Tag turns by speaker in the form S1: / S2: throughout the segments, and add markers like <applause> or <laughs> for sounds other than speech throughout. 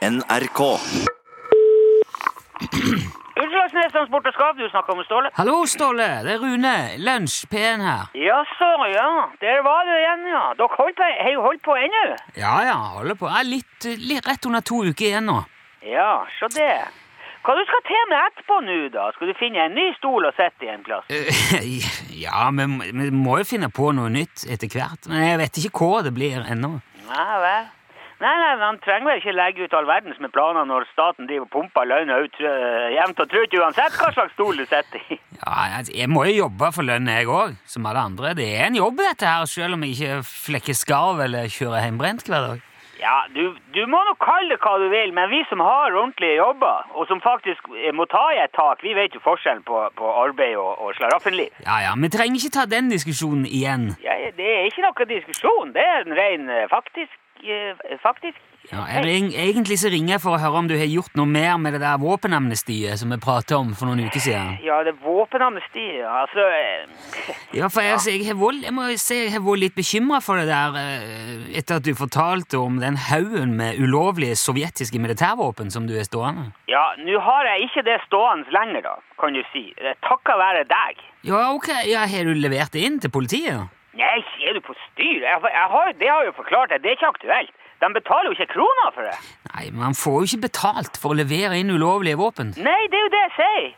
S1: NRK.
S2: Utslagsnes Transport og Skav, du snakker om Ståle.
S3: Hallo, Ståle. Det er Rune. Lunsj P1 her.
S2: Jaså, ja. Der var du igjen, ja. Dere holdt på, har jo holdt på ennå.
S3: Ja, ja, holder på. Jeg er litt, eh, litt rett under to uker igjen nå.
S2: Ja, så det. Hva du skal til med etterpå nå, da? Skal du finne en ny stol og sette i en plass?
S3: Eh, <laughs> Ja, vi, må- vi må jo finne på noe nytt etter hvert. Men jeg vet ikke hva det blir ennå.
S2: Nei vel. Nei, nei, men Han trenger vel ikke legge ut all verdens med planer når staten driver og pumper lønna ut øh, jevnt og trutt, uansett hva slags stol du sitter i. <laughs>
S3: Ja, altså, jeg må jo jobbe for lønn, jeg òg, som alle andre. Det er en jobb, dette her, selv om jeg ikke flekker skarv eller kjører hjemmebrent hver dag.
S2: Ja, du, du må nå kalle det hva du vil, men vi som har ordentlige jobber, og som faktisk eh, må ta i et tak, vi vet jo forskjellen på, på arbeid og, og slaraffenliv.
S3: Ja, ja, Vi trenger ikke ta den diskusjonen igjen.
S2: Ja, det er ikke noe diskusjon, det er en ren eh, faktisk, eh, faktisk.
S3: Ja, jeg ring, egentlig så ringer jeg for å høre om du har gjort noe mer med det der våpenamnestiet som vi pratet om for noen uker siden.
S2: Ja, det er våpenamnesti, ja, altså... eh,
S3: Ja, for jeg, altså, jeg, har vold, jeg må jo si jeg har vært litt bekymra for det der eh, etter at du fortalte om den haugen med ulovlige sovjetiske militærvåpen som du er stående.
S2: Ja, nå har jeg ikke det stående lenger da, kan du si. Det er takket være deg.
S3: Ja, ok, ja, Har du levert det inn til politiet?
S2: Nei, er du på styr? Jeg, jeg har, det har jeg jo forklart deg, det er ikke aktuelt. De betaler jo ikke kroner for det.
S3: Nei, man får jo ikke betalt for å levere inn ulovlige våpen.
S2: Nei, det er jo det jeg sier.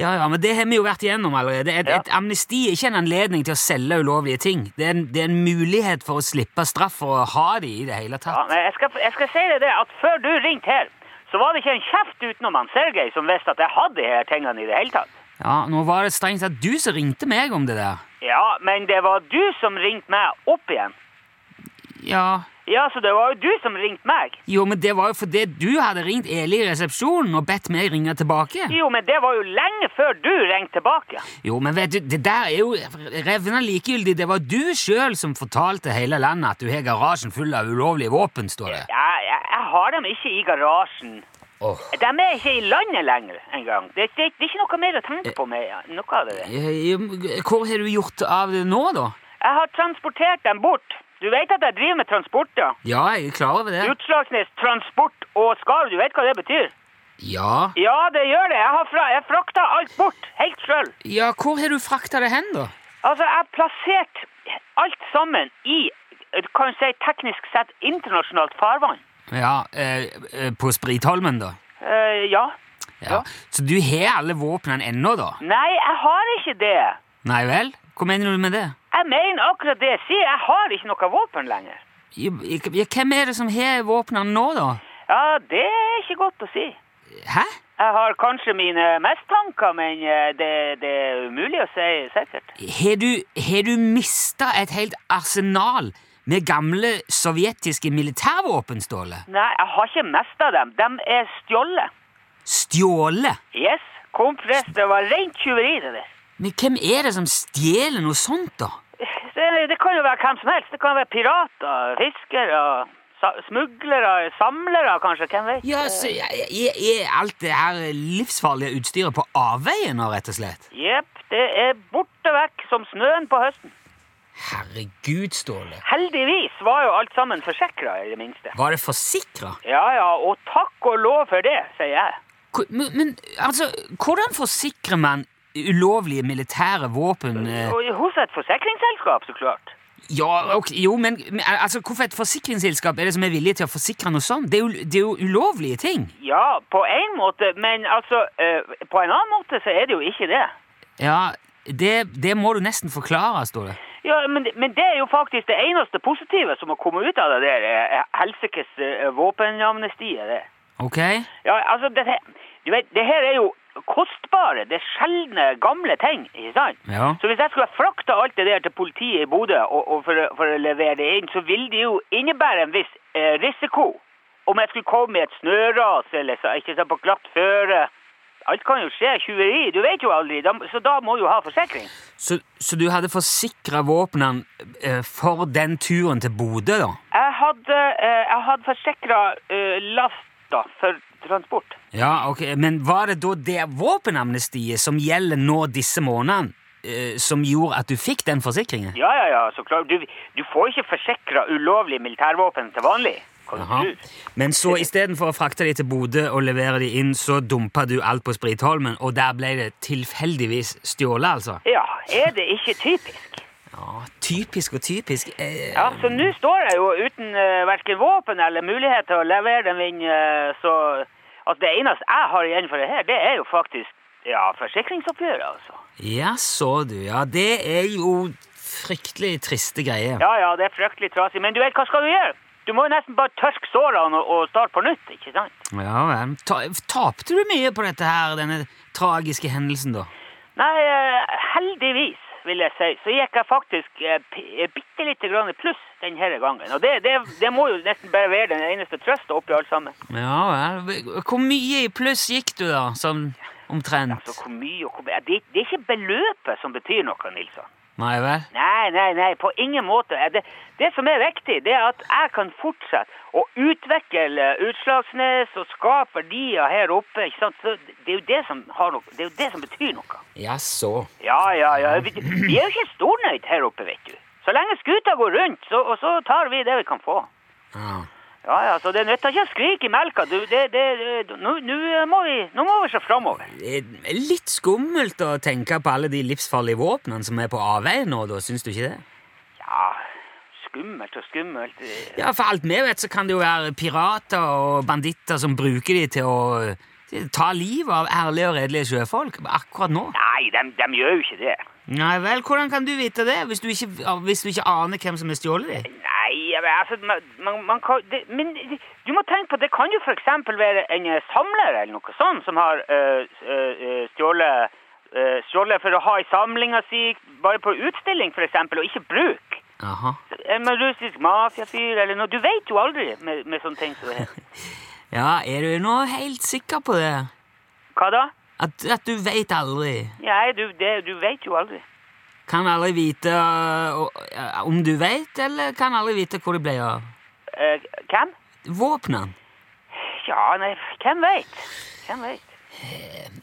S3: Ja, ja, men det har vi jo vært igjennom allerede. Et,
S2: Ja.
S3: et amnesti er ikke en anledning til å selge ulovlige ting. Det er en, det er en mulighet for å slippe straff og å ha de i det hele
S2: Ja,
S3: tatt.
S2: men jeg skal, jeg skal si deg det, at før du ringte her, så var det ikke en kjeft utenom han Sergej som visste at jeg hadde de her tingene i det hele tatt.
S3: Ja, Nå var det strengt tatt du som ringte meg om det der.
S2: Ja, men det var du som ringte meg opp igjen.
S3: Ja,
S2: Ja, så det var jo du som ringte meg.
S3: Jo, men det var jo fordi du hadde ringt Eli i resepsjonen og bedt meg ringe tilbake.
S2: Jo, men det var jo lenge før du ringte tilbake.
S3: Jo, men vet du, det der er jo revna likegyldig. Det var du sjøl som fortalte hele landet at du har garasjen full av ulovlige våpen, står det.
S2: Ja, jeg, jeg har dem ikke i garasjen.
S3: Åh.
S2: De er ikke i landet lenger engang. Det, det, det er ikke noe mer å tenke på med ja, noe av det. der.
S3: Eh, Hvor har du gjort av det nå, da?
S2: Jeg har transportert dem bort. Du vet at jeg driver med transport, da.
S3: Ja, jeg er klar over det.
S2: Utslagsnes, transport og skarv, du vet hva det betyr?
S3: Ja,
S2: Ja, det gjør det. Jeg har fra, jeg frakta alt bort, helt sjøl.
S3: ja hvor har du frakta det hen, da?
S2: Altså, jeg har plassert alt sammen i, du kan si teknisk sett, internasjonalt farvann.
S3: Ja, eh, eh, På Spritholmen, da?
S2: Eh, ja.
S3: Ja. Så du har alle våpnene ennå, da?
S2: Nei, jeg har ikke det.
S3: Nei vel? Hva mener du med det?
S2: Jeg mener akkurat det jeg sier. Jeg har ikke noe våpen lenger.
S3: Ja, Hvem er det som har våpnene nå, da?
S2: Ja, det er ikke godt å si.
S3: Hæ?
S2: Jeg har kanskje mine mistanker, men eh, det, det er umulig å si sikkert.
S3: Har du, har du mista et helt arsenal med gamle sovjetiske militærvåpen, Ståle?
S2: Nei, jeg har ikke mista dem. De er stjålet.
S3: Stjålet?
S2: Yes, kompress. Det var rent tyveri, det der.
S3: Men hvem er det som stjeler noe sånt, da?
S2: Det, det kan jo være hvem som helst. Det kan være pirater, fiskere, sa- smuglere, samlere kanskje. Hvem vet?
S3: Ja, så Er er alt det her livsfarlige utstyret på avveie nå, rett og slett?
S2: Jepp, det er borte vekk som snøen på høsten.
S3: Herregud, Ståle.
S2: Heldigvis var jo alt sammen forsikra, i det minste.
S3: Var det forsikra?
S2: Ja ja, og takk og lov for det, sier jeg.
S3: Men, men altså, hvordan forsikrer man ulovlige militære våpen? eh?
S2: Og hos et forsikringsselskap, så klart.
S3: Ja, ok, jo, men, men altså, hvorfor et forsikringsselskap er det som er villig til å forsikre noe sånt? Det er jo, det er jo ulovlige ting.
S2: Ja, på en måte, men altså eh, På en annen måte så er det jo ikke det.
S3: Ja, det, det må du nesten forklare, står det.
S2: Ja, men, men det er jo faktisk det eneste positive som har kommet ut av det der eh, helsikes eh, våpenamnestiet. det.
S3: Ok?
S2: Ja, altså, det, du vet, det her er jo kostbare, det er sjeldne gamle ting, ikke sant?
S3: Ja.
S2: Så hvis jeg skulle ha frakta alt det der til politiet i Bodø og, og for, å- for å levere det inn, så ville det jo innebære en viss eh, risiko. Om jeg skulle komme i et snøras eller så, ikke sant, på glatt føre. Alt kan jo skje, tjuveri, du vet jo aldri, da, så da må du jo ha forsikring.
S3: Så, så du hadde forsikra våpnene eh, for den turen til Bodø, da?
S2: Jeg hadde, eh, jeg hadde forsikra eh, lasta for transport.
S3: Ja, ok, Men var det da det våpenamnestiet som gjelder nå disse månedene, eh, som gjorde at du fikk den forsikringen?
S2: Ja, ja, ja, så klart. Du, du får ikke forsikra ulovlige militærvåpen til vanlig. Kan du
S3: Jaha.
S2: tro.
S3: Men så istedenfor å frakte de til Bodø og levere de inn, så dumpa du alt på Spritholmen, og der ble det tilfeldigvis stjålet, altså?
S2: Ja, er det ikke typisk?
S3: Ja, typisk og typisk. Eh,
S2: Ja, så nå står jeg jo uten uh, verken våpen eller mulighet til å levere dem inn, eh, så at det eneste jeg har igjen for det her, det er jo faktisk ja, forsikringsoppgjøret, altså.
S3: Ja, så du. Ja, det er jo fryktelig triste greier.
S2: Ja, ja, det er fryktelig trasig, men du vet, hva skal du gjøre? Du må jo nesten bare tørke sårene og, og starte på nytt, ikke sant?
S3: Ja vel. Ta, tapte du mye på dette her, denne tragiske hendelsen, da?
S2: Nei, eh, heldigvis, vil jeg si, så gikk jeg faktisk uh, bitte lite grann i pluss denne gangen, og det, det, det må jo nesten bare være den eneste trøsten oppi alt sammen.
S3: Ja vel. Hvor mye i pluss gikk du, da? Sånn omtrent?
S2: Altså, hvor mye og hvor mye det, det er ikke beløpet som betyr noe, Nilsson.
S3: Nei vel?
S2: Nei, nei, nei, på ingen måte. Er Det, det som er viktig, det er at jeg kan fortsette å utvikle Utslagsnes og skape verdier her oppe. ikke sant? Så det er jo det som, har noe, det er jo det som betyr noe.
S3: Ja, så.
S2: Ja, ja, ja. Vi, vi er jo ikke stornøyd her oppe, vet du. Så lenge skuta går rundt, så, og så tar vi det vi kan få.
S3: Ja.
S2: Ja, ja, så det nytter ikke å skrike i melka. Du, det, det, det- nå, nå må vi, nå må vi se framover.
S3: Eh, Litt skummelt å tenke på alle de livsfarlige våpnene som er på avveie nå, da, syns du ikke det?
S2: Ja, skummelt og skummelt. eh.
S3: Ja, for alt vi vet, så kan det jo være pirater og banditter som bruker de til å eh, ta livet av ærlige og redelige sjøfolk akkurat nå.
S2: Nei, de, de gjør jo ikke det.
S3: Nei vel, hvordan kan du vite det hvis du ikke, hvis du ikke aner hvem som har stjålet de?
S2: Nei, jeg vet, altså, man, man, man kan, det, men det- du må tenke på, det kan jo for eksempel være en eh, samler eller noe sånt som har eh, s- eh, eh, stjålet, eh, stjålet for å ha i samlinga si, bare på utstilling for eksempel, og ikke bruk.
S3: Aha.
S2: En russisk mafiafyr eller noe, du vet jo aldri med, med sånne ting som det her.
S3: Ja, er du nå helt sikker på det?
S2: Hva da?
S3: At, at du veit aldri?
S2: Nei, du, det, du vet jo aldri.
S3: Kan aldri vite øh, øh, om du veit, eller kan aldri vite hvor de ble av?
S2: Eh, hvem?
S3: Våpnene?
S2: Ja, nei, hvem vet? Hvem vet?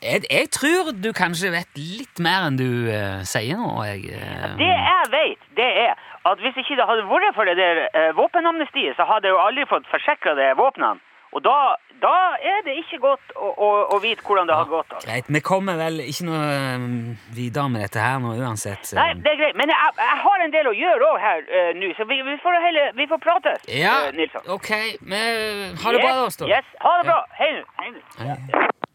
S3: Jeg, jeg tror du kanskje vet litt mer enn du eh, sier nå. Jeg, eh.
S2: Det jeg vet, det er at hvis ikke det hadde vært for det der eh, våpenamnestiet, så hadde jeg jo aldri fått forsikra de våpnene. Og da, da er det ikke godt å, å, å vite hvordan det har gått. Altså.
S3: Greit, vi kommer vel ikke noe eh, videre med dette her nå uansett. eh.
S2: Nei, det er greit, men jeg, jeg har en del å gjøre òg her eh, nå, så vi, vi, får heller, vi får prates,
S3: ja,
S2: eh, Nilsson.
S3: ok. Vi, ha det bra, da, Ståle.
S2: Yes, yes, ha det bra. Hei nå. Hei nå.
S3: Hei.